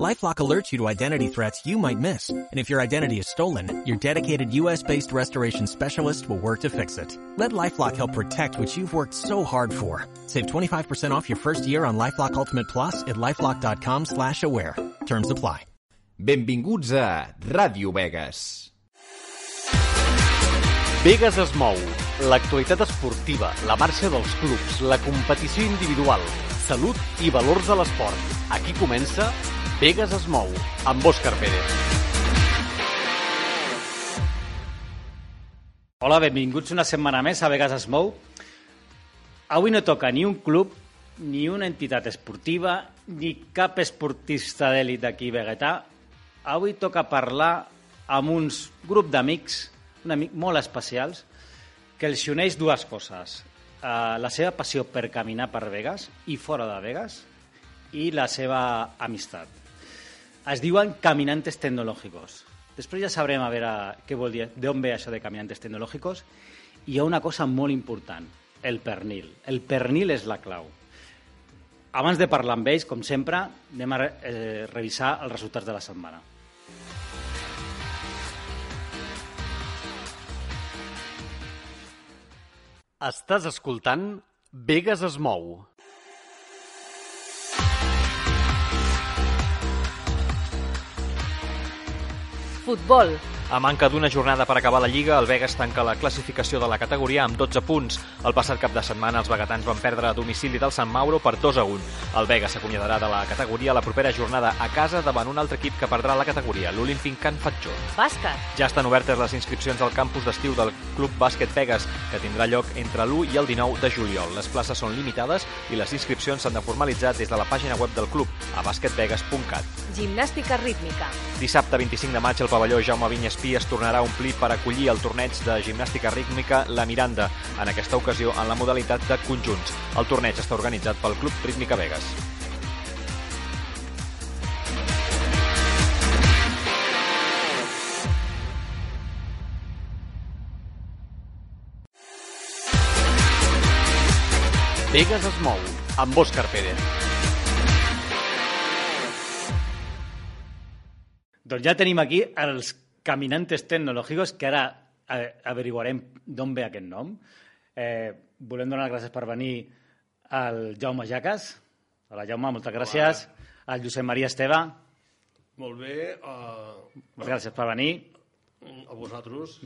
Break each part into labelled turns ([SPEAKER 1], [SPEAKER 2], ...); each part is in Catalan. [SPEAKER 1] LifeLock alerts you to identity threats you might miss, and if your identity is stolen, your dedicated U.S.-based restoration specialist will work to fix it. Let LifeLock help protect what you've worked so hard for. Save 25% off your first year on LifeLock Ultimate Plus at lifeLock.com/aware. Terms apply.
[SPEAKER 2] Benvinguts a Ràdio Vegas.
[SPEAKER 3] Vegas es mou. L'actualitat esportiva, la marxa dels clubs, la competició individual, salut i valors de l'esport. Aquí comença Vegas es mou, amb Òscar Pérez.
[SPEAKER 4] Hola, benvinguts una setmana més a Vegas es mou. Avui no toca ni un club, ni una entitat esportiva, ni cap esportista d'èlit aquí a Vegatà. Avui toca parlar amb uns grup d'amics, un amic molt especials, que els uneix dues coses. Uh, la seva passió per caminar per Vegas i fora de Vegas i la seva amistat. Es diuen caminantes tecnològicos. Després ja sabrem a veure què vol dir, d'on ve això de caminantes tecnològicos. I hi ha una cosa molt important, el pernil. El pernil és la clau. Abans de parlar amb ells, com sempre, anem a re- eh, revisar els resultats de la setmana.
[SPEAKER 3] Estàs escoltant Vegas es mou.
[SPEAKER 5] Futbol.
[SPEAKER 6] A manca d'una jornada per acabar la Lliga, el Vegas tanca la classificació de la categoria amb 12 punts. El passat cap de setmana els vegatans van perdre a domicili del Sant Mauro per 2 a 1. El Vegas s'acomiadarà de la categoria a la propera jornada a casa davant un altre equip que perdrà la categoria, l'Olímpic Can Fatjó.
[SPEAKER 5] Bàsquet.
[SPEAKER 6] Ja estan obertes les inscripcions al campus d'estiu del Club Bàsquet Vegas, que tindrà lloc entre l'1 i el 19 de juliol. Les places són limitades i les inscripcions s'han de formalitzar des de la pàgina web del club, a basketvegas.cat.
[SPEAKER 5] Gimnàstica rítmica.
[SPEAKER 6] Dissabte 25 de maig el pavelló Jaume Vinyespí es tornarà a omplir per acollir el torneig de gimnàstica rítmica La Miranda, en aquesta ocasió en la modalitat de conjunts. El torneig està organitzat pel Club Rítmica Vegas.
[SPEAKER 3] Vegas es mou, amb Òscar Pérez.
[SPEAKER 4] Doncs ja tenim aquí els caminantes tecnològics, que ara eh, averiguarem d'on ve aquest nom. Eh, volem donar les gràcies per venir al Jaume Jaques. Hola, Jaume, moltes gràcies. Al Josep Maria Esteve,
[SPEAKER 7] Molt bé, uh,
[SPEAKER 4] moltes gràcies per venir.
[SPEAKER 7] a vosaltres.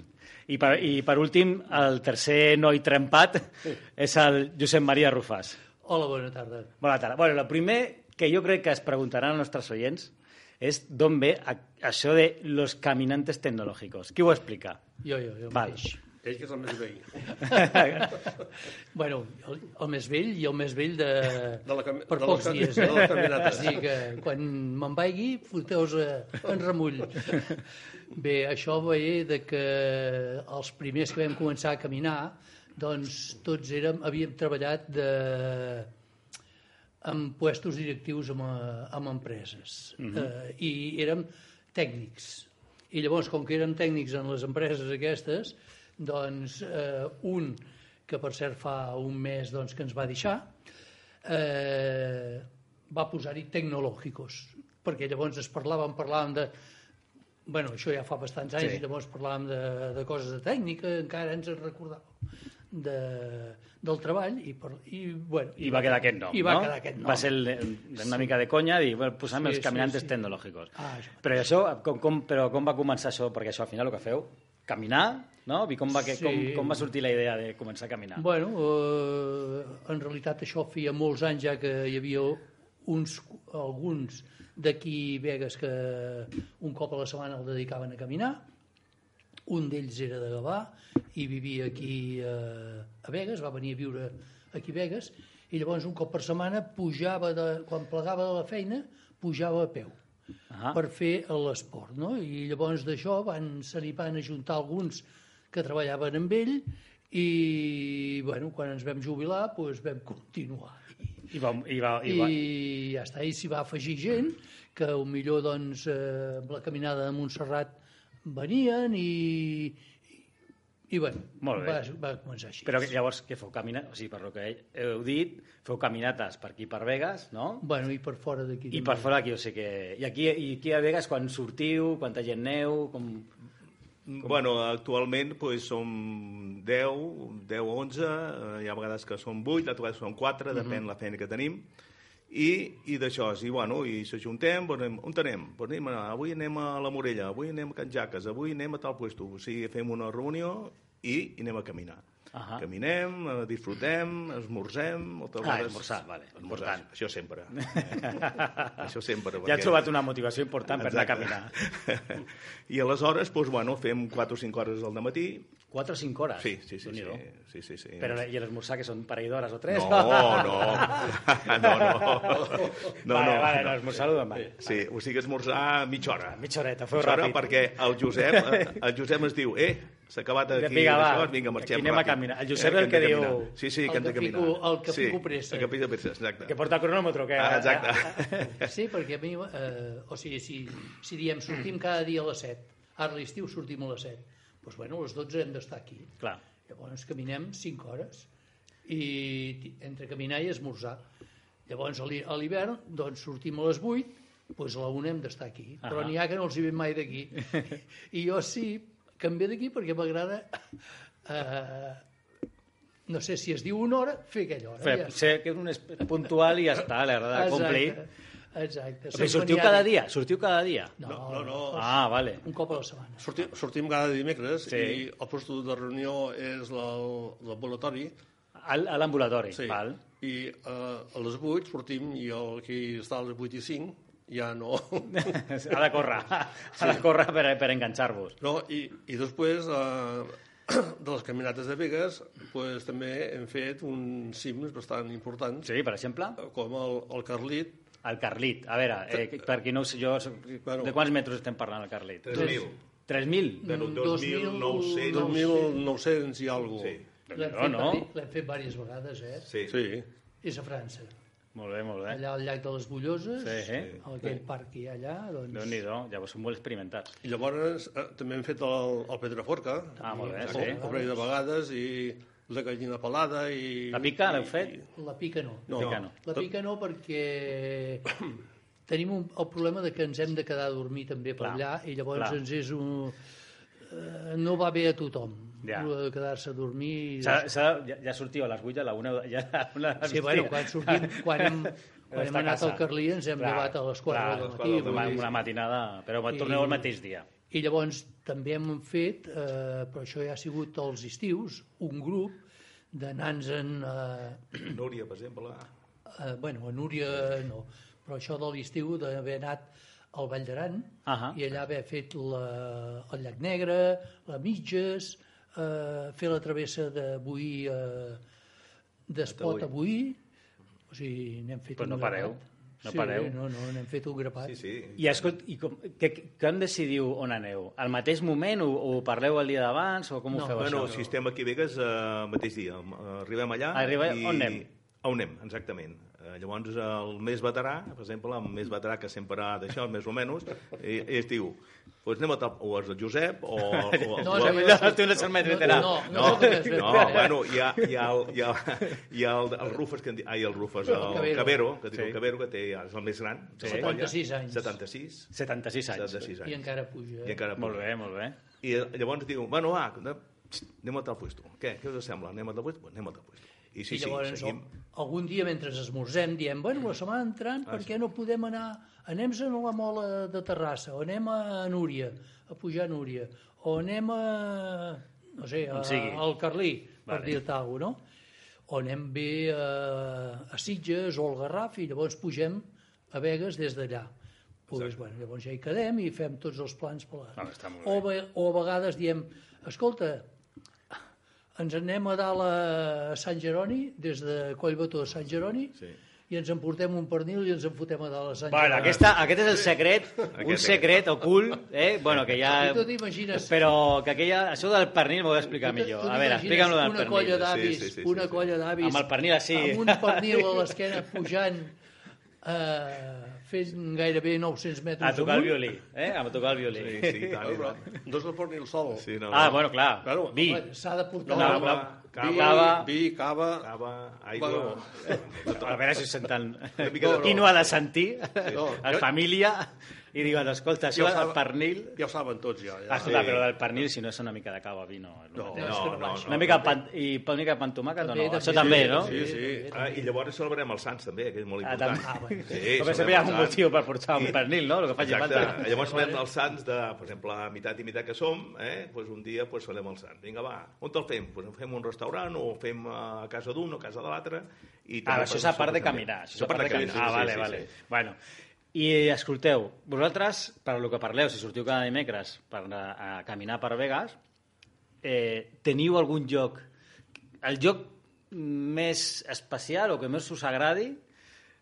[SPEAKER 4] I per, I per últim, el tercer noi trempat és el Josep Maria Rufàs.
[SPEAKER 8] Hola, bona tarda.
[SPEAKER 4] Bona tarda. Bueno, el primer que jo crec que es preguntaran els nostres oients és d'on ve a, això de los caminantes tecnològicos. Qui ho explica?
[SPEAKER 8] Jo, jo, jo
[SPEAKER 4] Val.
[SPEAKER 8] mateix.
[SPEAKER 7] Ell que és el més vell.
[SPEAKER 8] Bueno, el, el més vell i el més vell de,
[SPEAKER 7] De la cami-
[SPEAKER 8] per
[SPEAKER 7] de la
[SPEAKER 8] pocs
[SPEAKER 7] cami-
[SPEAKER 8] dies.
[SPEAKER 7] de la caminata.
[SPEAKER 8] És a dir, que quan me'n vagi, foteu-vos eh, en remull. Bé, això ve de que els primers que vam començar a caminar, doncs tots érem, havíem treballat de, en puestos directius amb, eh, amb empreses uh
[SPEAKER 4] Mhm.
[SPEAKER 8] -huh. eh, i érem tècnics. I llavors, com que érem tècnics en les empreses aquestes, doncs eh, un, que per cert fa un mes doncs, que ens va deixar, eh, va posar-hi tecnològicos, perquè llavors es parlaven, parlàvem de... bueno, això ja fa bastants anys, sí. i llavors parlàvem de, de coses de tècnica, encara ens en recordàvem de, del treball i, per, i, bueno,
[SPEAKER 4] I va quedar aquest nom,
[SPEAKER 8] I va
[SPEAKER 4] no?
[SPEAKER 8] quedar aquest nom.
[SPEAKER 4] Va ser el, el- una mica de conya dir, bueno, posam
[SPEAKER 8] Sí,
[SPEAKER 4] els
[SPEAKER 8] sí,
[SPEAKER 4] caminantes
[SPEAKER 8] sí.
[SPEAKER 4] tecnològicos.
[SPEAKER 8] Ah, això.
[SPEAKER 4] Però això, com, com, però com va començar això? Perquè això al final el que feu, caminar, no? I com va, que,
[SPEAKER 8] Sí.
[SPEAKER 4] com, com va sortir la idea de començar a caminar?
[SPEAKER 8] Bueno, eh, en realitat això feia molts anys ja que hi havia uns, alguns d'aquí Vegas que un cop a la setmana el dedicaven a caminar, un d'ells era de Gavà i vivia aquí eh, a Vegas, va venir a viure aquí a Vegas, i llavors un cop per setmana pujava, de, quan plegava de la feina, pujava a peu
[SPEAKER 4] Ahà.
[SPEAKER 8] per fer l'esport. No? I llavors d'això van, se n'hi van ajuntar alguns que treballaven amb ell i bueno, quan ens vam jubilar doncs vam continuar. I,
[SPEAKER 4] I va, i va, i va. I...
[SPEAKER 8] i ja està, i s'hi va afegir gent que o millor doncs eh, amb la caminada de Montserrat venien i i bueno,
[SPEAKER 4] Molt bé.
[SPEAKER 8] va, va començar així.
[SPEAKER 4] Però que- llavors, què feu? Camina... O sigui, per lo que heu dit, feu caminates per aquí, per Vegas, no?
[SPEAKER 8] Bueno, i per fora d'aquí.
[SPEAKER 4] I
[SPEAKER 8] també.
[SPEAKER 4] per fora aquí, o sigui que... I aquí, i aquí a Vegas, quan sortiu, quanta gent neu, com...
[SPEAKER 9] Bueno, actualment pues, som 10, 10 o 11, eh, hi ha vegades que són 8, d'altres vegades són 4,
[SPEAKER 8] Mhm.
[SPEAKER 9] depèn de la feina que tenim, i, i d'això, i bueno, i s'ajuntem, doncs anem, on anem? Doncs anem a, avui anem a la Morella, avui anem a Can Jaques, avui anem a tal puesto, o sigui, fem una reunió i, i anem a caminar.
[SPEAKER 4] Ahà.
[SPEAKER 9] Caminem, eh, disfrutem, esmorzem... moltes
[SPEAKER 4] Ah,
[SPEAKER 9] vegades-
[SPEAKER 4] esmorzar, vale,
[SPEAKER 9] Esmorzar,
[SPEAKER 4] important.
[SPEAKER 9] Això sempre. això sempre.
[SPEAKER 4] Ja he
[SPEAKER 9] perquè-
[SPEAKER 4] trobat una motivació important per anar a caminar.
[SPEAKER 9] Exacte. I aleshores, doncs, bueno, fem 4 o 5 hores al matí.
[SPEAKER 4] 4 o 5 hores?
[SPEAKER 9] Sí, sí, sí. sí,
[SPEAKER 4] Déu-n'hi-do.
[SPEAKER 9] sí, sí, sí.
[SPEAKER 4] Però i l'esmorzar, que són un parell d'hores o tres?
[SPEAKER 9] No, no. no, no. No, no,
[SPEAKER 4] vale, vale,
[SPEAKER 9] no.
[SPEAKER 4] no, esmorzar-ho demà.
[SPEAKER 9] Sí, o sigui, esmorzar mitja hora.
[SPEAKER 4] Mitja horeta, feu
[SPEAKER 9] hora
[SPEAKER 4] ràpid.
[SPEAKER 9] perquè el Josep, eh, el Josep ens diu, eh, s'ha acabat aquí,
[SPEAKER 4] Vinga, va,
[SPEAKER 9] això, vinga, marxem
[SPEAKER 4] aquí anem a
[SPEAKER 9] ràpid. Eh,
[SPEAKER 4] caminar. El Josep
[SPEAKER 9] hem
[SPEAKER 4] el que
[SPEAKER 9] de
[SPEAKER 4] diu-
[SPEAKER 9] caminar. Sí, sí,
[SPEAKER 8] El
[SPEAKER 9] que hem de
[SPEAKER 8] que
[SPEAKER 9] caminar.
[SPEAKER 8] fico- el que
[SPEAKER 9] sí,
[SPEAKER 8] fico pressa.
[SPEAKER 9] El que fico pressa, exacte.
[SPEAKER 4] Que porta el cronòmetre, que...
[SPEAKER 9] Ah, exacte.
[SPEAKER 8] Sí, perquè a mi, eh, o sigui, si, si diem sortim cada dia a les 7, ara a l'estiu sortim a les 7, doncs bueno, a les 12 hem d'estar aquí.
[SPEAKER 4] Clar.
[SPEAKER 8] Llavors caminem 5 hores i ti- entre caminar i esmorzar. Llavors a l'hi- a l'hivern doncs, sortim a les 8, doncs a la 1 hem d'estar aquí. Però
[SPEAKER 4] Ahà.
[SPEAKER 8] n'hi ha que no els hi ve mai d'aquí. I jo sí, que em ve d'aquí perquè m'agrada... Eh, no sé si es diu una hora, fer aquella hora.
[SPEAKER 4] Fer,
[SPEAKER 8] ja
[SPEAKER 4] ser que un és puntual i ja està, l'hora de complir.
[SPEAKER 8] Exacte.
[SPEAKER 4] Però
[SPEAKER 8] Sempre
[SPEAKER 4] sortiu
[SPEAKER 8] n'hi ha
[SPEAKER 4] cada
[SPEAKER 8] que-
[SPEAKER 4] dia, sortiu cada dia.
[SPEAKER 8] No,
[SPEAKER 7] No, no, no.
[SPEAKER 4] Ah, vale.
[SPEAKER 8] Un cop a la setmana.
[SPEAKER 7] Sortim, sortim cada dimecres
[SPEAKER 4] Sí.
[SPEAKER 7] sí. i el puesto de reunió és la- l'ambulatori.
[SPEAKER 4] Al- A l'ambulatori,
[SPEAKER 7] Sí.
[SPEAKER 4] val.
[SPEAKER 7] I eh, a les 8 sortim i el que està a les 8 i 5 ja no...
[SPEAKER 4] Ha de córrer, ha de córrer per, per enganxar-vos.
[SPEAKER 7] no I, i després eh, de les caminates de Vegas pues, també hem fet uns cims bastant importants,
[SPEAKER 4] Sí, per exemple,
[SPEAKER 7] com el, el Carlit,
[SPEAKER 4] el Carlit. A veure, eh, per qui no ho sé jo,
[SPEAKER 7] Bueno.
[SPEAKER 4] de quants metres estem parlant, el Carlit?
[SPEAKER 9] 3.000.
[SPEAKER 4] 3.000?
[SPEAKER 9] Bueno,
[SPEAKER 8] 2.000,
[SPEAKER 9] 2.900.
[SPEAKER 7] 2.900 i alguna cosa.
[SPEAKER 9] Sí.
[SPEAKER 8] L'hem
[SPEAKER 4] No,
[SPEAKER 8] fet,
[SPEAKER 4] no.
[SPEAKER 8] vari- l'hem fet diverses vegades, eh?
[SPEAKER 9] Sí. sí.
[SPEAKER 7] Sí.
[SPEAKER 8] És a França.
[SPEAKER 4] Molt bé, molt bé.
[SPEAKER 8] Allà al llac de les Bulloses,
[SPEAKER 4] Sí, eh?
[SPEAKER 8] a aquell parc que hi ha allà, doncs...
[SPEAKER 4] Déu-n'hi-do, llavors som molt experimentats.
[SPEAKER 7] I llavors eh, també hem fet el, el Pedraforca.
[SPEAKER 4] Ah, molt bé,
[SPEAKER 7] el,
[SPEAKER 4] sí.
[SPEAKER 7] El parell de vegades i la gallina pelada i...
[SPEAKER 4] La pica l'heu
[SPEAKER 7] i-
[SPEAKER 4] fet?
[SPEAKER 8] La pica no.
[SPEAKER 7] No,
[SPEAKER 4] Pica no.
[SPEAKER 8] La pica no perquè tenim un, el problema de que ens hem de quedar a dormir també per
[SPEAKER 4] Clar,
[SPEAKER 8] allà i llavors
[SPEAKER 4] clar.
[SPEAKER 8] ens és un... eh, No va bé a tothom,
[SPEAKER 4] Ja.
[SPEAKER 8] allò de quedar-se a dormir... i
[SPEAKER 4] S'ha- s'ha- Ja, ja sortiu a les 8, a la 1, ja a la 1
[SPEAKER 8] Sí, bueno, quan sortim, quan hem, quan hem
[SPEAKER 4] Està a
[SPEAKER 8] anat
[SPEAKER 4] casa.
[SPEAKER 8] al Carlí ens hem
[SPEAKER 4] Clar,
[SPEAKER 8] llevat a les 4
[SPEAKER 4] clar,
[SPEAKER 8] del
[SPEAKER 4] a les
[SPEAKER 8] matí.
[SPEAKER 4] Una,
[SPEAKER 8] vull dir.
[SPEAKER 4] una matinada, però I...
[SPEAKER 8] I-
[SPEAKER 4] torneu el mateix dia.
[SPEAKER 8] I llavors també hem fet, eh, però això ja ha sigut als estius, un grup de nans en... Eh,
[SPEAKER 9] Núria, per exemple.
[SPEAKER 8] eh, bueno, a Núria no, però això de l'estiu d'haver anat al Vall d'Aran
[SPEAKER 4] Ahà.
[SPEAKER 8] i allà haver fet la, el Llac Negre, la Mitges, eh, fer la travessa de Boí, eh, d'Espot a Boí, o sigui, n'hem fet
[SPEAKER 4] Però
[SPEAKER 8] un
[SPEAKER 4] no pareu,
[SPEAKER 8] grapat.
[SPEAKER 4] no
[SPEAKER 8] sí,
[SPEAKER 4] pareu.
[SPEAKER 8] no, no, n'hem fet un grapat.
[SPEAKER 9] Sí, sí.
[SPEAKER 4] I, escolt, i com, que, que em decidiu on aneu? Al mateix moment o, o parleu el dia d'abans o com
[SPEAKER 8] No.
[SPEAKER 4] ho feu
[SPEAKER 9] Bueno,
[SPEAKER 4] això?
[SPEAKER 9] si estem aquí a Vegas, eh, mateix dia. Eh, Arribem allà...
[SPEAKER 4] Arriba- on anem?
[SPEAKER 9] On anem, exactament. Eh, llavors, el més veterà, per exemple, el més veterà que sempre ha d'això, més o menys, i, i es diu, doncs anem a tal... O és el Josep, o... o,
[SPEAKER 8] No,
[SPEAKER 9] o el-
[SPEAKER 8] és el
[SPEAKER 4] millor no té una sermet veterà.
[SPEAKER 8] No, no,
[SPEAKER 9] No,
[SPEAKER 8] sóc el més
[SPEAKER 9] no,
[SPEAKER 8] veterà.
[SPEAKER 9] bueno, hi ha, hi ha, el, hi ha, hi ha el, el Rufes, que en di... ai, el Rufes, el
[SPEAKER 8] Cabero.
[SPEAKER 9] Cabero, Cabero que diu
[SPEAKER 4] Sí.
[SPEAKER 9] el Cabero, que té, és el més gran. de la
[SPEAKER 4] Sí.
[SPEAKER 9] colla.
[SPEAKER 8] 76 anys.
[SPEAKER 9] 76.
[SPEAKER 4] 76 anys.
[SPEAKER 9] 76 anys.
[SPEAKER 8] I encara puja. eh?
[SPEAKER 9] I encara
[SPEAKER 4] Molt bé, molt bé.
[SPEAKER 9] i eh, llavors diu, bueno, va, anem- anem a tal puesto. Què, què us sembla? Anem a tal puesto? Bueno, Anem a tal puesto. I sí,
[SPEAKER 8] I llavors,
[SPEAKER 9] sí, seguim.
[SPEAKER 8] algun dia mentre esmorzem, diem, bueno, la setmana entrant,
[SPEAKER 4] Ah,
[SPEAKER 8] per què no podem anar... anem a la Mola de Terrassa, o anem a Núria, a pujar a Núria, o anem a... no sé, a,
[SPEAKER 4] On sigui.
[SPEAKER 8] al Carlí, per
[SPEAKER 4] Vale.
[SPEAKER 8] dir-te alguna cosa, no? O anem bé a, a Sitges o al Garraf i llavors pugem a Vegas des d'allà. Pues, bueno, llavors ja hi quedem i fem tots els plans per la...
[SPEAKER 4] Ah, està molt
[SPEAKER 8] o, ve, o a vegades diem, escolta, ens anem a dalt a Sant Jeroni, des de Collbató a Sant Jeroni,
[SPEAKER 9] Sí.
[SPEAKER 8] i ens emportem un pernil i ens en fotem a dalt a Sant
[SPEAKER 4] Bueno, aquesta, aquest és el secret, un secret ocult, eh? Bueno, que ja...
[SPEAKER 8] I tu t'imagines-
[SPEAKER 4] Però que aquella... Això del pernil m'ho he d'explicar millor. A veure, explica'm-ho del
[SPEAKER 8] una colla
[SPEAKER 4] pernil.
[SPEAKER 8] d'avis,
[SPEAKER 9] Sí, sí, sí,
[SPEAKER 8] una
[SPEAKER 9] sí, sí.
[SPEAKER 8] colla d'avis...
[SPEAKER 4] Amb el pernil així.
[SPEAKER 8] Amb un pernil a l'esquena pujant eh, fent gairebé 900 metres
[SPEAKER 4] A tocar el
[SPEAKER 8] amunt.
[SPEAKER 4] violí, eh? A tocar el violí.
[SPEAKER 9] Sí, sí, i tant, i
[SPEAKER 7] Però,
[SPEAKER 9] tant.
[SPEAKER 7] no és el forn ni el sol.
[SPEAKER 9] Sí, no,
[SPEAKER 4] Ah,
[SPEAKER 9] no.
[SPEAKER 4] bueno, clar.
[SPEAKER 7] Claro,
[SPEAKER 4] Vi.
[SPEAKER 8] Bueno, S'ha de portar...
[SPEAKER 4] No,
[SPEAKER 8] una-
[SPEAKER 4] cava,
[SPEAKER 7] vi,
[SPEAKER 4] cava.
[SPEAKER 7] vi, cava...
[SPEAKER 9] Cava, aigua...
[SPEAKER 7] Bueno.
[SPEAKER 4] A veure si ho senten...
[SPEAKER 9] Una mica de
[SPEAKER 4] Qui
[SPEAKER 9] tot.
[SPEAKER 4] no ha de sentir?
[SPEAKER 7] No,
[SPEAKER 4] En
[SPEAKER 7] jo-
[SPEAKER 4] família. I diuen, escolta, això
[SPEAKER 7] ho
[SPEAKER 4] del
[SPEAKER 7] saben-
[SPEAKER 4] pernil... Ah,
[SPEAKER 7] Ja ho saben tots, ja. ja.
[SPEAKER 4] Escolta, però del pernil, si no és una mica de cava, vi, no. No,
[SPEAKER 8] és que no vaig.
[SPEAKER 4] Una mica de pan, i una mica de pan tomàquet, o no?
[SPEAKER 8] També,
[SPEAKER 4] Això també,
[SPEAKER 8] també,
[SPEAKER 4] no?
[SPEAKER 7] Sí, sí.
[SPEAKER 9] Ah, I lllavors celebrem els Sants, també, que és molt
[SPEAKER 4] Ah,
[SPEAKER 9] important.
[SPEAKER 4] també. Ah, bueno.
[SPEAKER 9] Sí,
[SPEAKER 4] Però
[SPEAKER 9] celebrem
[SPEAKER 4] sempre hi ha
[SPEAKER 9] els
[SPEAKER 4] un
[SPEAKER 9] Sants.
[SPEAKER 4] motiu per portar un pernil, no? El que faci
[SPEAKER 9] Exacte.
[SPEAKER 4] falta.
[SPEAKER 9] Llavors celebrem els Sants de, per exemple, a meitat i meitat que som, eh? pues un dia pues, celebrem els Sants. Vinga, va, on te'l fem? Pues en fem a un restaurant o ho fem eh, a casa d'un o a casa de l'altre. i
[SPEAKER 4] Ah,
[SPEAKER 9] també
[SPEAKER 4] això és
[SPEAKER 9] per-
[SPEAKER 4] a part de
[SPEAKER 9] també.
[SPEAKER 4] caminar. Això
[SPEAKER 9] Això
[SPEAKER 4] és a part de caminar. Ah,
[SPEAKER 9] sí,
[SPEAKER 4] vale,
[SPEAKER 9] sí,
[SPEAKER 4] vale.
[SPEAKER 9] sí.
[SPEAKER 4] Bueno, i escolteu, vosaltres, per lo que parleu, si sortiu cada dimecres per anar a caminar per Vegas, eh, teniu algun lloc, el lloc més especial o que més us agradi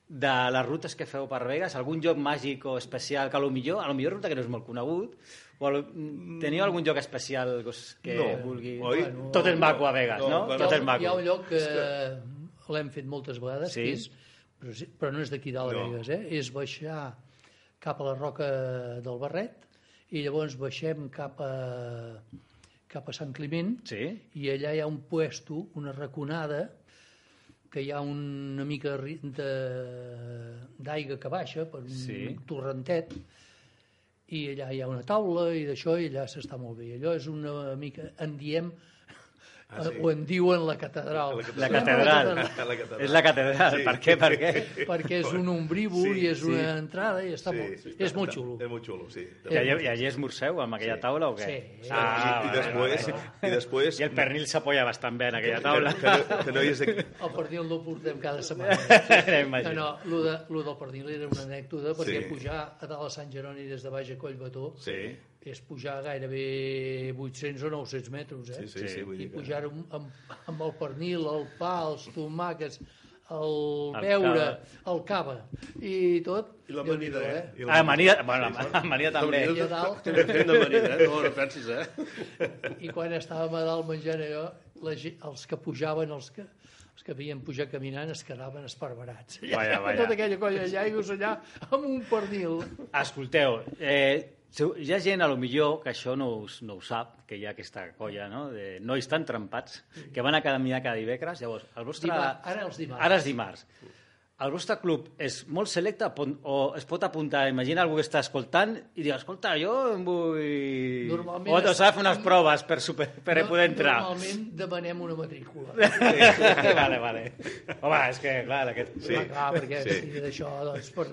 [SPEAKER 4] de les rutes que feu per Vegas, algun lloc màgic o especial que a lo millor, a lo millor ruta que no és molt conegut, o a lo... teniu algun lloc especial que, us, que
[SPEAKER 9] No,
[SPEAKER 4] vulgui...
[SPEAKER 9] oi?
[SPEAKER 4] Tot és maco a Vegas, no?
[SPEAKER 9] No,
[SPEAKER 4] Tot és
[SPEAKER 8] hi, ha, hi ha
[SPEAKER 4] maco.
[SPEAKER 8] un lloc que l'hem fet moltes vegades,
[SPEAKER 4] Sí?
[SPEAKER 8] sí? que és, però, sí- però no és d'aquí dalt,
[SPEAKER 9] No.
[SPEAKER 8] no. Vegas, eh? és baixar cap a la roca del Barret i llavors baixem cap a, cap a Sant Climent
[SPEAKER 4] Sí?
[SPEAKER 8] i allà hi ha un puesto, una raconada, que hi ha una mica de ri- de- d'aigua que baixa per un
[SPEAKER 4] Sí.
[SPEAKER 8] torrentet, i allà hi ha una taula i d'això, i allà s'està molt bé. Allò és una mica, en diem, ah, sí. o en diuen la catedral.
[SPEAKER 4] La catedral.
[SPEAKER 9] La catedral.
[SPEAKER 4] És la catedral.
[SPEAKER 9] Sí.
[SPEAKER 4] Per què? Per què?
[SPEAKER 8] Perquè és un ombrívol
[SPEAKER 9] Sí,
[SPEAKER 8] sí, i és
[SPEAKER 9] sí.
[SPEAKER 8] una sí. entrada i està sí, molt, sí, és molt xulo. Eh,
[SPEAKER 9] És molt xulo, sí.
[SPEAKER 4] I allà, i allà esmorzeu amb aquella taula o què?
[SPEAKER 8] Sí.
[SPEAKER 4] Ah,
[SPEAKER 9] I,
[SPEAKER 4] vale,
[SPEAKER 9] després,
[SPEAKER 4] vale.
[SPEAKER 9] I després...
[SPEAKER 4] I el pernil s'apoya bastant bé en aquella taula.
[SPEAKER 9] Que, que, no, que no hi és aquí.
[SPEAKER 8] El pernil no el portem cada setmana.
[SPEAKER 4] Ja
[SPEAKER 8] no,
[SPEAKER 4] imagino.
[SPEAKER 8] no, lo, de, lo del pernil era una anècdota, perquè
[SPEAKER 9] Sí.
[SPEAKER 8] pujar a dalt a Sant Jeroni des de baix a Collbató
[SPEAKER 9] Sí.
[SPEAKER 8] és pujar gairebé 800 o 900 metres, eh?
[SPEAKER 9] Sí, sí, sí, vull
[SPEAKER 8] I
[SPEAKER 9] dir que-
[SPEAKER 8] pujar amb, amb, amb el pernil, el pa, els tomàquets, el,
[SPEAKER 4] El
[SPEAKER 8] beure, el cava i tot.
[SPEAKER 7] I l'amanida, eh?
[SPEAKER 8] Déu-n'hi-do,
[SPEAKER 4] Ah, amanida, bueno, amanida també.
[SPEAKER 8] I a dalt,
[SPEAKER 7] També fent d'amanida, eh? No, no pensis, eh?
[SPEAKER 8] I quan estàvem a dalt menjant allò, la, ge- els que pujaven, els que, els que havien pujat caminant, es quedaven esparverats.
[SPEAKER 4] Vaja, vaja.
[SPEAKER 8] Tota aquella colla d'aigües allà, amb un pernil.
[SPEAKER 4] Escolteu, eh, segu- hi ha gent, a lo millor, que això no, us, no ho sap, que hi ha aquesta colla, no?, de nois tan trempats, que van a caminar cada divendres. Llavors, el vostre...
[SPEAKER 8] Dimarts, ara els dimarts.
[SPEAKER 4] Ara els dimarts. El vostre club és molt selecte pon- o es pot apuntar? Imagina algú que està escoltant i dir, escolta, jo em vull...
[SPEAKER 8] Normalment
[SPEAKER 4] o
[SPEAKER 8] es-
[SPEAKER 4] s'ha de fer unes proves per, super, per
[SPEAKER 8] No-
[SPEAKER 4] poder entrar.
[SPEAKER 8] Normalment demanem una matrícula.
[SPEAKER 4] vale, vale. Home, és que, clar, aquest...
[SPEAKER 9] Sí.
[SPEAKER 8] Sí. Clar, perquè sí. sí d'això, doncs, per,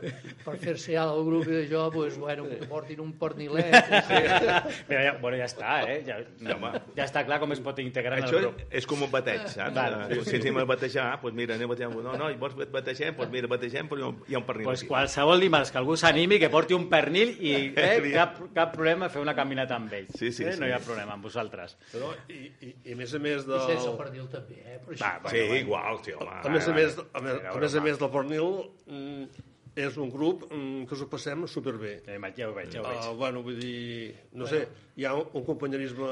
[SPEAKER 8] per fer-se alt al grup i d'això, doncs, bueno, que portin un pernilet.
[SPEAKER 4] Mira, ja, bueno, ja està, eh? Ja,
[SPEAKER 9] Ja, home.
[SPEAKER 4] ja està clar com es pot integrar en el
[SPEAKER 9] Això
[SPEAKER 4] grup.
[SPEAKER 9] és com un bateig, saps?
[SPEAKER 4] Vale.
[SPEAKER 9] Eh, Si ens anem a batejar, doncs mira, anem a batejar. No, no, vols que et bategem? Doncs mira, bategem, però hi ha un- hi ha un pernil
[SPEAKER 4] Pues
[SPEAKER 9] aquí.
[SPEAKER 4] qualsevol dimarts que algú s'animi, que porti un pernil i eh,
[SPEAKER 9] Sí.
[SPEAKER 4] cap, cap problema fer una caminata amb ells.
[SPEAKER 9] Sí, sí,
[SPEAKER 4] eh?
[SPEAKER 9] sí.
[SPEAKER 4] No hi ha problema amb vosaltres.
[SPEAKER 7] No, i, i, I a més a més
[SPEAKER 8] I sense el
[SPEAKER 7] del...
[SPEAKER 8] pernil també, eh? Però
[SPEAKER 4] Va,
[SPEAKER 8] això,
[SPEAKER 9] Ah,
[SPEAKER 4] bueno,
[SPEAKER 9] Sí,
[SPEAKER 4] bueno.
[SPEAKER 9] igual, sí, home.
[SPEAKER 7] A més a més, a més,
[SPEAKER 4] Era
[SPEAKER 7] a més, a
[SPEAKER 4] broma.
[SPEAKER 7] més del Pernil, mm, és un grup mm, que us ho passem superbé.
[SPEAKER 4] Ja, ima- Eh, ja ho veig, ja ho veig.
[SPEAKER 7] Uh, bueno, vull dir, no sé, hi ha un, un companyerisme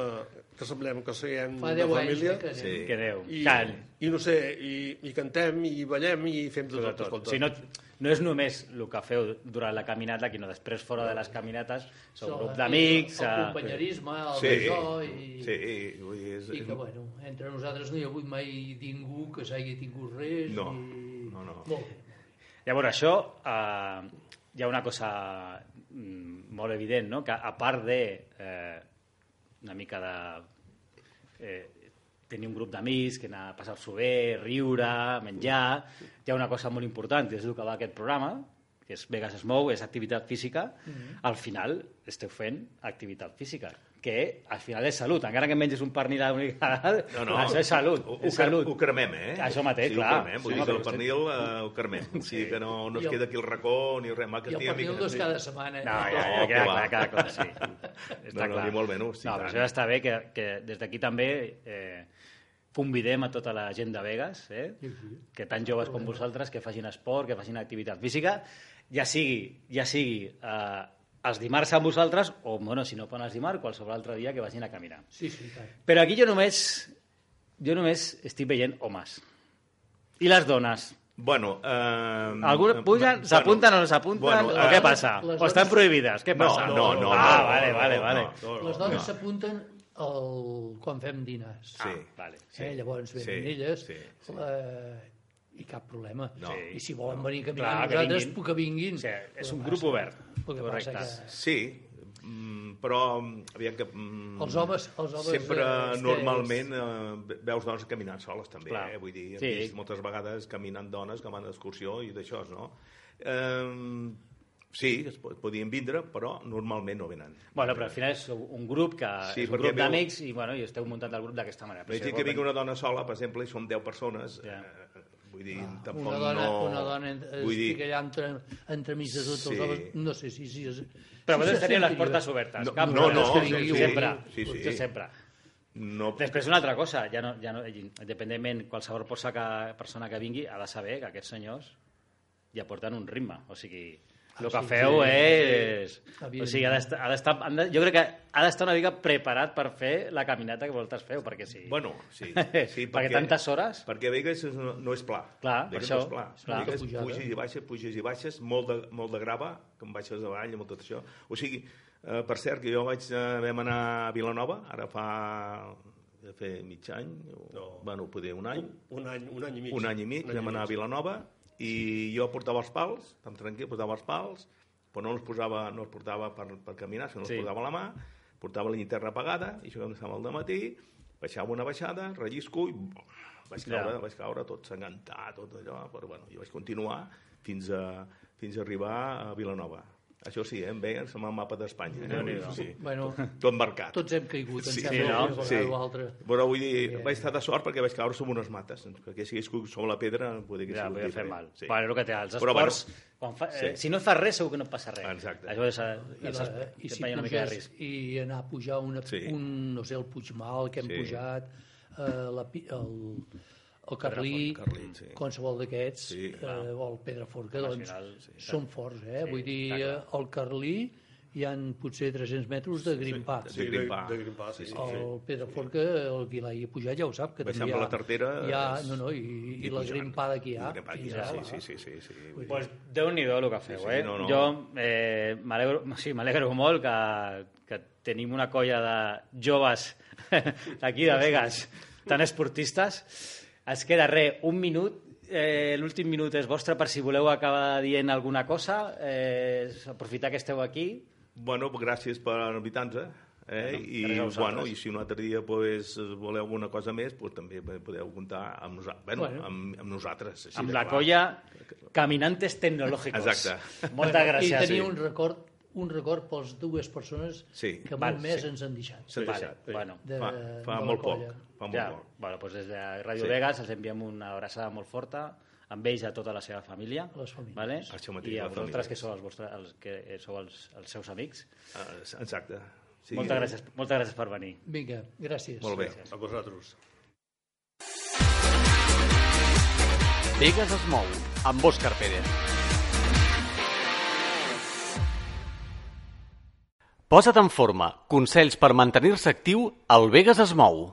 [SPEAKER 7] que semblem que seguem
[SPEAKER 8] fa
[SPEAKER 7] de
[SPEAKER 8] 10 anys
[SPEAKER 7] família
[SPEAKER 8] eh, que anem.
[SPEAKER 9] Sí.
[SPEAKER 8] Sí.
[SPEAKER 4] Que Déu.
[SPEAKER 7] i,
[SPEAKER 4] Cal.
[SPEAKER 7] i no sé, i, i cantem i ballem i fem de tot,
[SPEAKER 4] Tot.
[SPEAKER 7] escolta.
[SPEAKER 4] Si no, no és només el que feu durant la caminata, sinó després fora de les caminates, sou grup d'amics...
[SPEAKER 8] El, el
[SPEAKER 4] eh,
[SPEAKER 8] companyerisme, el
[SPEAKER 9] Sí,
[SPEAKER 8] sí. d'això i...
[SPEAKER 9] sí, vull dir, és...
[SPEAKER 8] I que, bueno, entre nosaltres no hi ha hagut mai ningú que s'hagi tingut res.
[SPEAKER 9] No,
[SPEAKER 8] ni...
[SPEAKER 9] no, no.
[SPEAKER 8] Molt bé.
[SPEAKER 4] Llavors, això, eh, hi ha una cosa mm, molt evident, no? que a part de eh, una mica de eh, tenir un grup d'amics, que anar a passar-s'ho bé, riure, menjar, hi ha una cosa molt important, que és el que va aquest programa, que és Vegas es mou, és activitat física, al final esteu fent activitat física, que al final és salut, encara que menges un pernil a l'unitat,
[SPEAKER 9] No, no.
[SPEAKER 4] això és salut,
[SPEAKER 9] Ho, ho,
[SPEAKER 4] és salut.
[SPEAKER 9] Ho cremem, eh?
[SPEAKER 4] Això mateix,
[SPEAKER 9] sí,
[SPEAKER 4] clar.
[SPEAKER 9] Ho cremem, vull
[SPEAKER 4] Sí,
[SPEAKER 9] dir que
[SPEAKER 4] home,
[SPEAKER 9] el
[SPEAKER 4] però
[SPEAKER 9] pernil eh, ho cremem. Sí. O sigui que no, no
[SPEAKER 8] I
[SPEAKER 9] es
[SPEAKER 8] el-
[SPEAKER 9] queda aquí el racó ni res. Va, que
[SPEAKER 8] I el
[SPEAKER 9] tira
[SPEAKER 8] pernil
[SPEAKER 9] mica-
[SPEAKER 8] dos cada
[SPEAKER 9] Eh,
[SPEAKER 8] setmana. eh?
[SPEAKER 4] No, ja, ja,
[SPEAKER 9] No,
[SPEAKER 4] queda
[SPEAKER 9] que va.
[SPEAKER 4] clar, queda clar, sí. Està
[SPEAKER 9] no,
[SPEAKER 4] clar.
[SPEAKER 9] ni molt menys, sí,
[SPEAKER 4] no,
[SPEAKER 9] tant.
[SPEAKER 4] però això està bé que, que des d'aquí també eh, convidem a tota la gent de Vegas, eh? que tan joves com vosaltres, que facin esport, que facin activitat física, ja sigui, ja sigui eh, els dimarts amb vosaltres, o bueno, si no poden els dimarts, qualsevol altre dia que vagin a caminar.
[SPEAKER 8] Sí, sí, tant.
[SPEAKER 4] Però aquí jo només, jo només estic veient homes. I les dones.
[SPEAKER 9] Bueno, eh,
[SPEAKER 4] Alguns pugen, s'apunten o no s'apunten, bueno, o què passa?
[SPEAKER 8] les
[SPEAKER 4] O estan
[SPEAKER 8] dones-
[SPEAKER 4] prohibides, què
[SPEAKER 9] No,
[SPEAKER 4] passa?
[SPEAKER 9] no, no, no,
[SPEAKER 4] Ah, vale,
[SPEAKER 9] no,
[SPEAKER 4] vale,
[SPEAKER 9] no,
[SPEAKER 4] vale.
[SPEAKER 9] no, no,
[SPEAKER 8] Les dones s'apunten al... quan fem dinars.
[SPEAKER 9] Sí.
[SPEAKER 4] Vale.
[SPEAKER 8] Sí. Eh? Llavors venen
[SPEAKER 9] Sí,
[SPEAKER 8] elles
[SPEAKER 9] sí, sí.
[SPEAKER 8] Eh, i cap problema.
[SPEAKER 9] No.
[SPEAKER 8] I si volen venir a caminar
[SPEAKER 4] Clar,
[SPEAKER 8] amb
[SPEAKER 4] que
[SPEAKER 8] nosaltres,
[SPEAKER 4] vinguin.
[SPEAKER 8] puc que vinguin.
[SPEAKER 4] O sigui,
[SPEAKER 8] El
[SPEAKER 4] és
[SPEAKER 8] que
[SPEAKER 4] un grup
[SPEAKER 8] passa-
[SPEAKER 4] obert.
[SPEAKER 8] El que
[SPEAKER 4] Correcte.
[SPEAKER 8] passa que
[SPEAKER 9] Sí, mm, però mm, aviam que... mm,
[SPEAKER 8] Els homes- els homes,
[SPEAKER 9] Sempre,
[SPEAKER 8] eh, és que-
[SPEAKER 9] normalment, eh, veus dones caminant soles, també,
[SPEAKER 4] Clar.
[SPEAKER 9] eh? Vull dir, he
[SPEAKER 4] Sí.
[SPEAKER 9] vist moltes vegades caminant dones que van d'excursió i d'això, no? Eh, sí, es po- podien vindre, però normalment no venen.
[SPEAKER 4] Bueno, però al final és un grup que
[SPEAKER 9] Sí,
[SPEAKER 4] és un
[SPEAKER 9] perquè
[SPEAKER 4] grup
[SPEAKER 9] veu-
[SPEAKER 4] d'amics i, bueno, i esteu muntant el grup d'aquesta manera.
[SPEAKER 9] Veig
[SPEAKER 4] si
[SPEAKER 9] que
[SPEAKER 4] vol-
[SPEAKER 9] vinc una dona sola, per exemple, i som 10 persones,
[SPEAKER 4] Ja.
[SPEAKER 9] eh, vull dir, tampoc
[SPEAKER 8] Ah, una dona,
[SPEAKER 9] no...
[SPEAKER 8] una dona eh,
[SPEAKER 9] vull dir,
[SPEAKER 8] estic allà entre, entremig de tots
[SPEAKER 9] Sí.
[SPEAKER 8] els homes, no sé si... si, si
[SPEAKER 4] Però
[SPEAKER 8] si
[SPEAKER 4] vosaltres
[SPEAKER 8] se
[SPEAKER 4] teniu les
[SPEAKER 8] sent
[SPEAKER 4] portes
[SPEAKER 8] lliure.
[SPEAKER 4] obertes.
[SPEAKER 9] No,
[SPEAKER 4] cap
[SPEAKER 9] no,
[SPEAKER 4] problema.
[SPEAKER 9] no,
[SPEAKER 4] sí,
[SPEAKER 9] sí,
[SPEAKER 4] sempre.
[SPEAKER 9] sí, sí.
[SPEAKER 4] Jo sempre.
[SPEAKER 9] no...
[SPEAKER 4] Després una altra cosa, ja no, ja no, independentment, qualsevol posa que, persona que vingui ha de saber que aquests senyors ja porten un ritme, o sigui,
[SPEAKER 9] Ah,
[SPEAKER 4] el que
[SPEAKER 8] sí,
[SPEAKER 4] feu
[SPEAKER 8] sí,
[SPEAKER 4] és... O sigui, ha
[SPEAKER 8] Evidentment.
[SPEAKER 4] d'estar, ha d'estar, han de, jo crec que ha d'estar una mica preparat per fer la caminata que vosaltres feu, perquè sí.
[SPEAKER 9] Bueno, sí. sí
[SPEAKER 4] perquè tantes hores...
[SPEAKER 9] Perquè Vegas és, no, no és pla.
[SPEAKER 4] Clar,
[SPEAKER 9] Vegas
[SPEAKER 4] per
[SPEAKER 9] no
[SPEAKER 4] això,
[SPEAKER 9] és pla.
[SPEAKER 4] clar.
[SPEAKER 9] Vegas
[SPEAKER 8] Pujada. eh?
[SPEAKER 9] puges i baixes, puges i baixes, molt de, molt de grava, que em baixes avall, amb tot això. O sigui, eh, per cert, que jo vaig, eh, vam anar a Vilanova, ara fa, ja fer mig any, o, no. bueno, poder un any,
[SPEAKER 7] Un any, un any i mig.
[SPEAKER 9] un any i mig, vam anar a Vilanova, i jo portava els pals, tan tranquil, portava els pals, però no els posava, no els portava per, per caminar, sinó els
[SPEAKER 4] Sí.
[SPEAKER 9] sí. posava a la mà, portava la llinterna apagada, i això començava al matí, baixava una baixada, rellisco, i bum, vaig
[SPEAKER 4] Ja.
[SPEAKER 9] caure, vaig caure tot s'engantat, tot allò, però bueno, jo vaig continuar fins a, fins a arribar a Vilanova. Això sí, eh, em veien, som al mapa d'Espanya. Eh? Sí.
[SPEAKER 8] Bueno,
[SPEAKER 9] Tot marcat.
[SPEAKER 8] tots hem caigut, em
[SPEAKER 9] Sí,
[SPEAKER 8] sembla,
[SPEAKER 4] sí, no?
[SPEAKER 8] una vegada o altra.
[SPEAKER 9] però vull dir, vaig estar de sort perquè vaig caure sobre unes mates, doncs, perquè si hagués caigut sobre la pedra poder que
[SPEAKER 4] Ja,
[SPEAKER 9] sigut
[SPEAKER 4] podia fer
[SPEAKER 9] diferent.
[SPEAKER 4] mal. Sí. Bueno, el que té, els
[SPEAKER 9] Però,
[SPEAKER 4] esports...
[SPEAKER 9] bueno,
[SPEAKER 4] quan fa, eh,
[SPEAKER 9] sí.
[SPEAKER 4] si no fas res, segur que no et passa res.
[SPEAKER 9] Exacte.
[SPEAKER 4] Llavors, eh,
[SPEAKER 8] I,
[SPEAKER 4] els
[SPEAKER 8] la,
[SPEAKER 4] esports
[SPEAKER 8] i si
[SPEAKER 4] et una mica de
[SPEAKER 8] puges
[SPEAKER 4] risc.
[SPEAKER 8] i anar a pujar una,
[SPEAKER 9] Sí.
[SPEAKER 8] sí. un, no sé, el Puigmal que hem
[SPEAKER 9] Sí.
[SPEAKER 8] sí. pujat, eh, la, pi- el, el Carlí,
[SPEAKER 9] Carlí, sí.
[SPEAKER 8] qualsevol d'aquests,
[SPEAKER 9] Sí,
[SPEAKER 8] eh, o el Pedraforca,
[SPEAKER 4] Al
[SPEAKER 8] doncs,
[SPEAKER 4] final, sí,
[SPEAKER 8] sí, són forts, eh? Vull dir,
[SPEAKER 4] clar, clar.
[SPEAKER 8] eh, el Carlí hi han potser 300 metres de grimpar.
[SPEAKER 9] de grimpar.
[SPEAKER 7] De, de grimpar, sí. sí.
[SPEAKER 8] El Pedraforca, el qui l'hagi pujat, ja ho sap, que
[SPEAKER 9] Baixant
[SPEAKER 8] també hi
[SPEAKER 9] per
[SPEAKER 8] ha...
[SPEAKER 9] la tartera,
[SPEAKER 8] Hi ha,
[SPEAKER 9] és-
[SPEAKER 8] no, no, i, i,
[SPEAKER 9] i
[SPEAKER 8] la
[SPEAKER 9] pujant.
[SPEAKER 8] grimpada que hi ha.
[SPEAKER 9] Grimpar,
[SPEAKER 8] fins
[SPEAKER 9] ja,
[SPEAKER 8] a
[SPEAKER 9] sí,
[SPEAKER 8] la-
[SPEAKER 9] sí, sí, sí, sí. vull dir,
[SPEAKER 4] Pues Déu-n'hi-do el que feu,
[SPEAKER 9] Sí, sí,
[SPEAKER 4] eh?
[SPEAKER 9] no, no.
[SPEAKER 4] Jo eh, m'alegro sí, m'alegro molt que, que tenim una colla de joves d'aquí de Vegas tan esportistes. Ens queda res, un minut. Eh, L'últim minut és vostre per si voleu acabar dient alguna cosa. Eh, aprofitar que esteu aquí.
[SPEAKER 9] Bueno, gràcies per invitar-nos, eh? Eh?
[SPEAKER 4] Bueno,
[SPEAKER 9] I,
[SPEAKER 4] gràcies a vosaltres.
[SPEAKER 9] bueno, i si un altre dia pues, voleu alguna cosa més pues, també podeu comptar amb, nosa bueno,
[SPEAKER 8] Bueno.
[SPEAKER 9] amb, amb nosaltres així
[SPEAKER 4] amb
[SPEAKER 9] de
[SPEAKER 4] la
[SPEAKER 9] clar.
[SPEAKER 4] colla Caminantes Tecnològicos.
[SPEAKER 9] Exacte.
[SPEAKER 4] Moltes gràcies.
[SPEAKER 8] I tenia un record, un record pels dues persones
[SPEAKER 9] Sí.
[SPEAKER 8] que en
[SPEAKER 4] Val,
[SPEAKER 8] un mes
[SPEAKER 4] sí.
[SPEAKER 8] ens han deixat.
[SPEAKER 9] s'ha
[SPEAKER 4] Vale,
[SPEAKER 9] deixat
[SPEAKER 4] bueno.
[SPEAKER 8] De,
[SPEAKER 9] fa,
[SPEAKER 8] de
[SPEAKER 9] fa
[SPEAKER 8] la
[SPEAKER 9] molt poc
[SPEAKER 8] colla.
[SPEAKER 9] fa molt
[SPEAKER 4] Ja,
[SPEAKER 9] poc
[SPEAKER 4] bueno, doncs des de Ràdio
[SPEAKER 9] Sí.
[SPEAKER 4] Vegas els enviem una abraçada molt forta amb ells i a tota la seva família.
[SPEAKER 8] A les famílies.
[SPEAKER 4] Vale?
[SPEAKER 9] Això mateix,
[SPEAKER 4] I a
[SPEAKER 9] les famílies.
[SPEAKER 4] vosaltres, que sou els, vostres, els, que eh, sou els, els seus amics.
[SPEAKER 9] Ah, exacte sí.
[SPEAKER 4] Moltes, gràcies, moltes gràcies per venir.
[SPEAKER 8] Vinga, gràcies.
[SPEAKER 9] molt bé
[SPEAKER 7] A vosaltres.
[SPEAKER 3] Vegas es mou amb Òscar Pérez. Posa't en forma. Consells per mantenir-se actiu al Vegas es mou.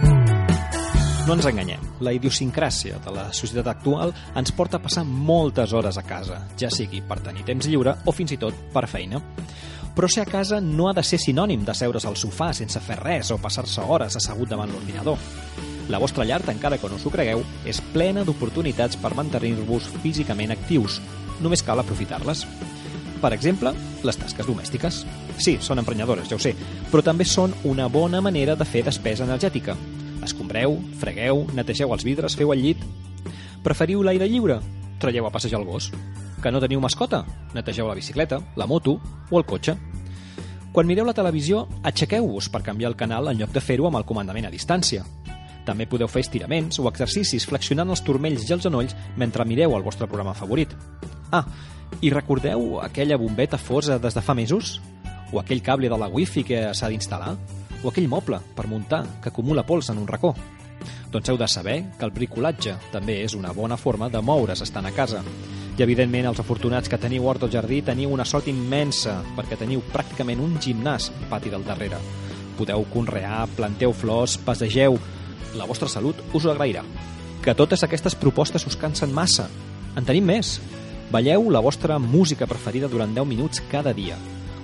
[SPEAKER 10] No ens enganyem, la idiosincràsia de la societat actual ens porta a passar moltes hores a casa, ja sigui per tenir temps lliure o fins i tot per feina. Però ser a casa no ha de ser sinònim de seure's al sofà sense fer res o passar-se hores assegut davant l'ordinador. La vostra llar, encara que no us ho cregueu, és plena d'oportunitats per mantenir-vos físicament actius. Només cal aprofitar-les. Per exemple, les tasques domèstiques. Sí, són emprenyadores, ja ho sé, però també són una bona manera de fer despesa energètica. Escombreu, fregueu, netegeu els vidres, feu el llit... Preferiu l'aire lliure? Traieu a passejar el gos. Que no teniu mascota? Netegeu la bicicleta, la moto o el cotxe. Quan mireu la televisió, aixequeu-vos per canviar el canal en lloc de fer-ho amb el comandament a distància. També podeu fer estiraments o exercicis flexionant els turmells i els genolls mentre mireu el vostre programa favorit. Ah, I recordeu aquella bombeta fosa des de fa mesos? O aquell cable de la wifi que s'ha d'instal·lar? O aquell moble per muntar que acumula pols en un racó? Doncs heu de saber que el bricolatge també és una bona forma de moure's estant a casa. I evidentment els afortunats que teniu hort o jardí teniu una sort immensa perquè teniu pràcticament un gimnàs al pati del darrere. Podeu conrear, planteu flors, passegeu... La vostra salut us ho agrairà. Que totes aquestes propostes us cansen massa. En tenim més. Balleu la vostra música preferida durant 10 minuts cada dia.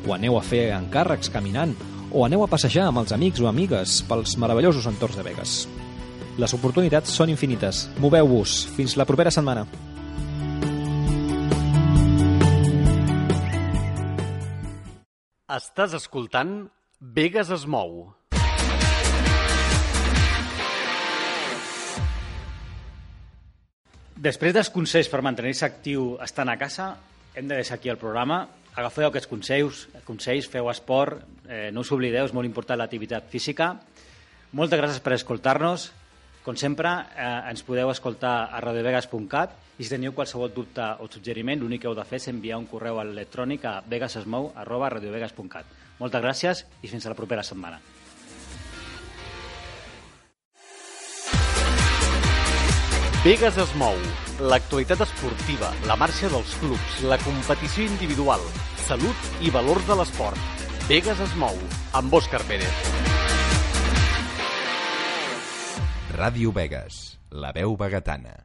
[SPEAKER 10] O aneu a fer encàrrecs caminant, o aneu a passejar amb els amics o amigues pels meravellosos entorns de Vegas. Les oportunitats són infinites. Moveu-vos. Fins la propera setmana.
[SPEAKER 3] Estàs escoltant Vegas es mou.
[SPEAKER 4] Després dels consells per mantenir-se actiu estant a casa, hem de deixar aquí el programa. Agafeu aquests consells, consells feu esport, eh, no us oblideu, és molt important l'activitat física. Moltes gràcies per escoltar-nos. Com sempre, eh, ens podeu escoltar a radiovegas.cat i si teniu qualsevol dubte o suggeriment, l'únic que heu de fer és enviar un correu electrònic a vegasesmou.radiovegas.cat. Moltes gràcies i fins a la propera setmana.
[SPEAKER 3] Vegas es mou. L'actualitat esportiva, la marxa dels clubs, la competició individual, salut i valors de l'esport. Vegas es mou. Amb Òscar Pérez.
[SPEAKER 2] Ràdio Vegas, la veu vegetana.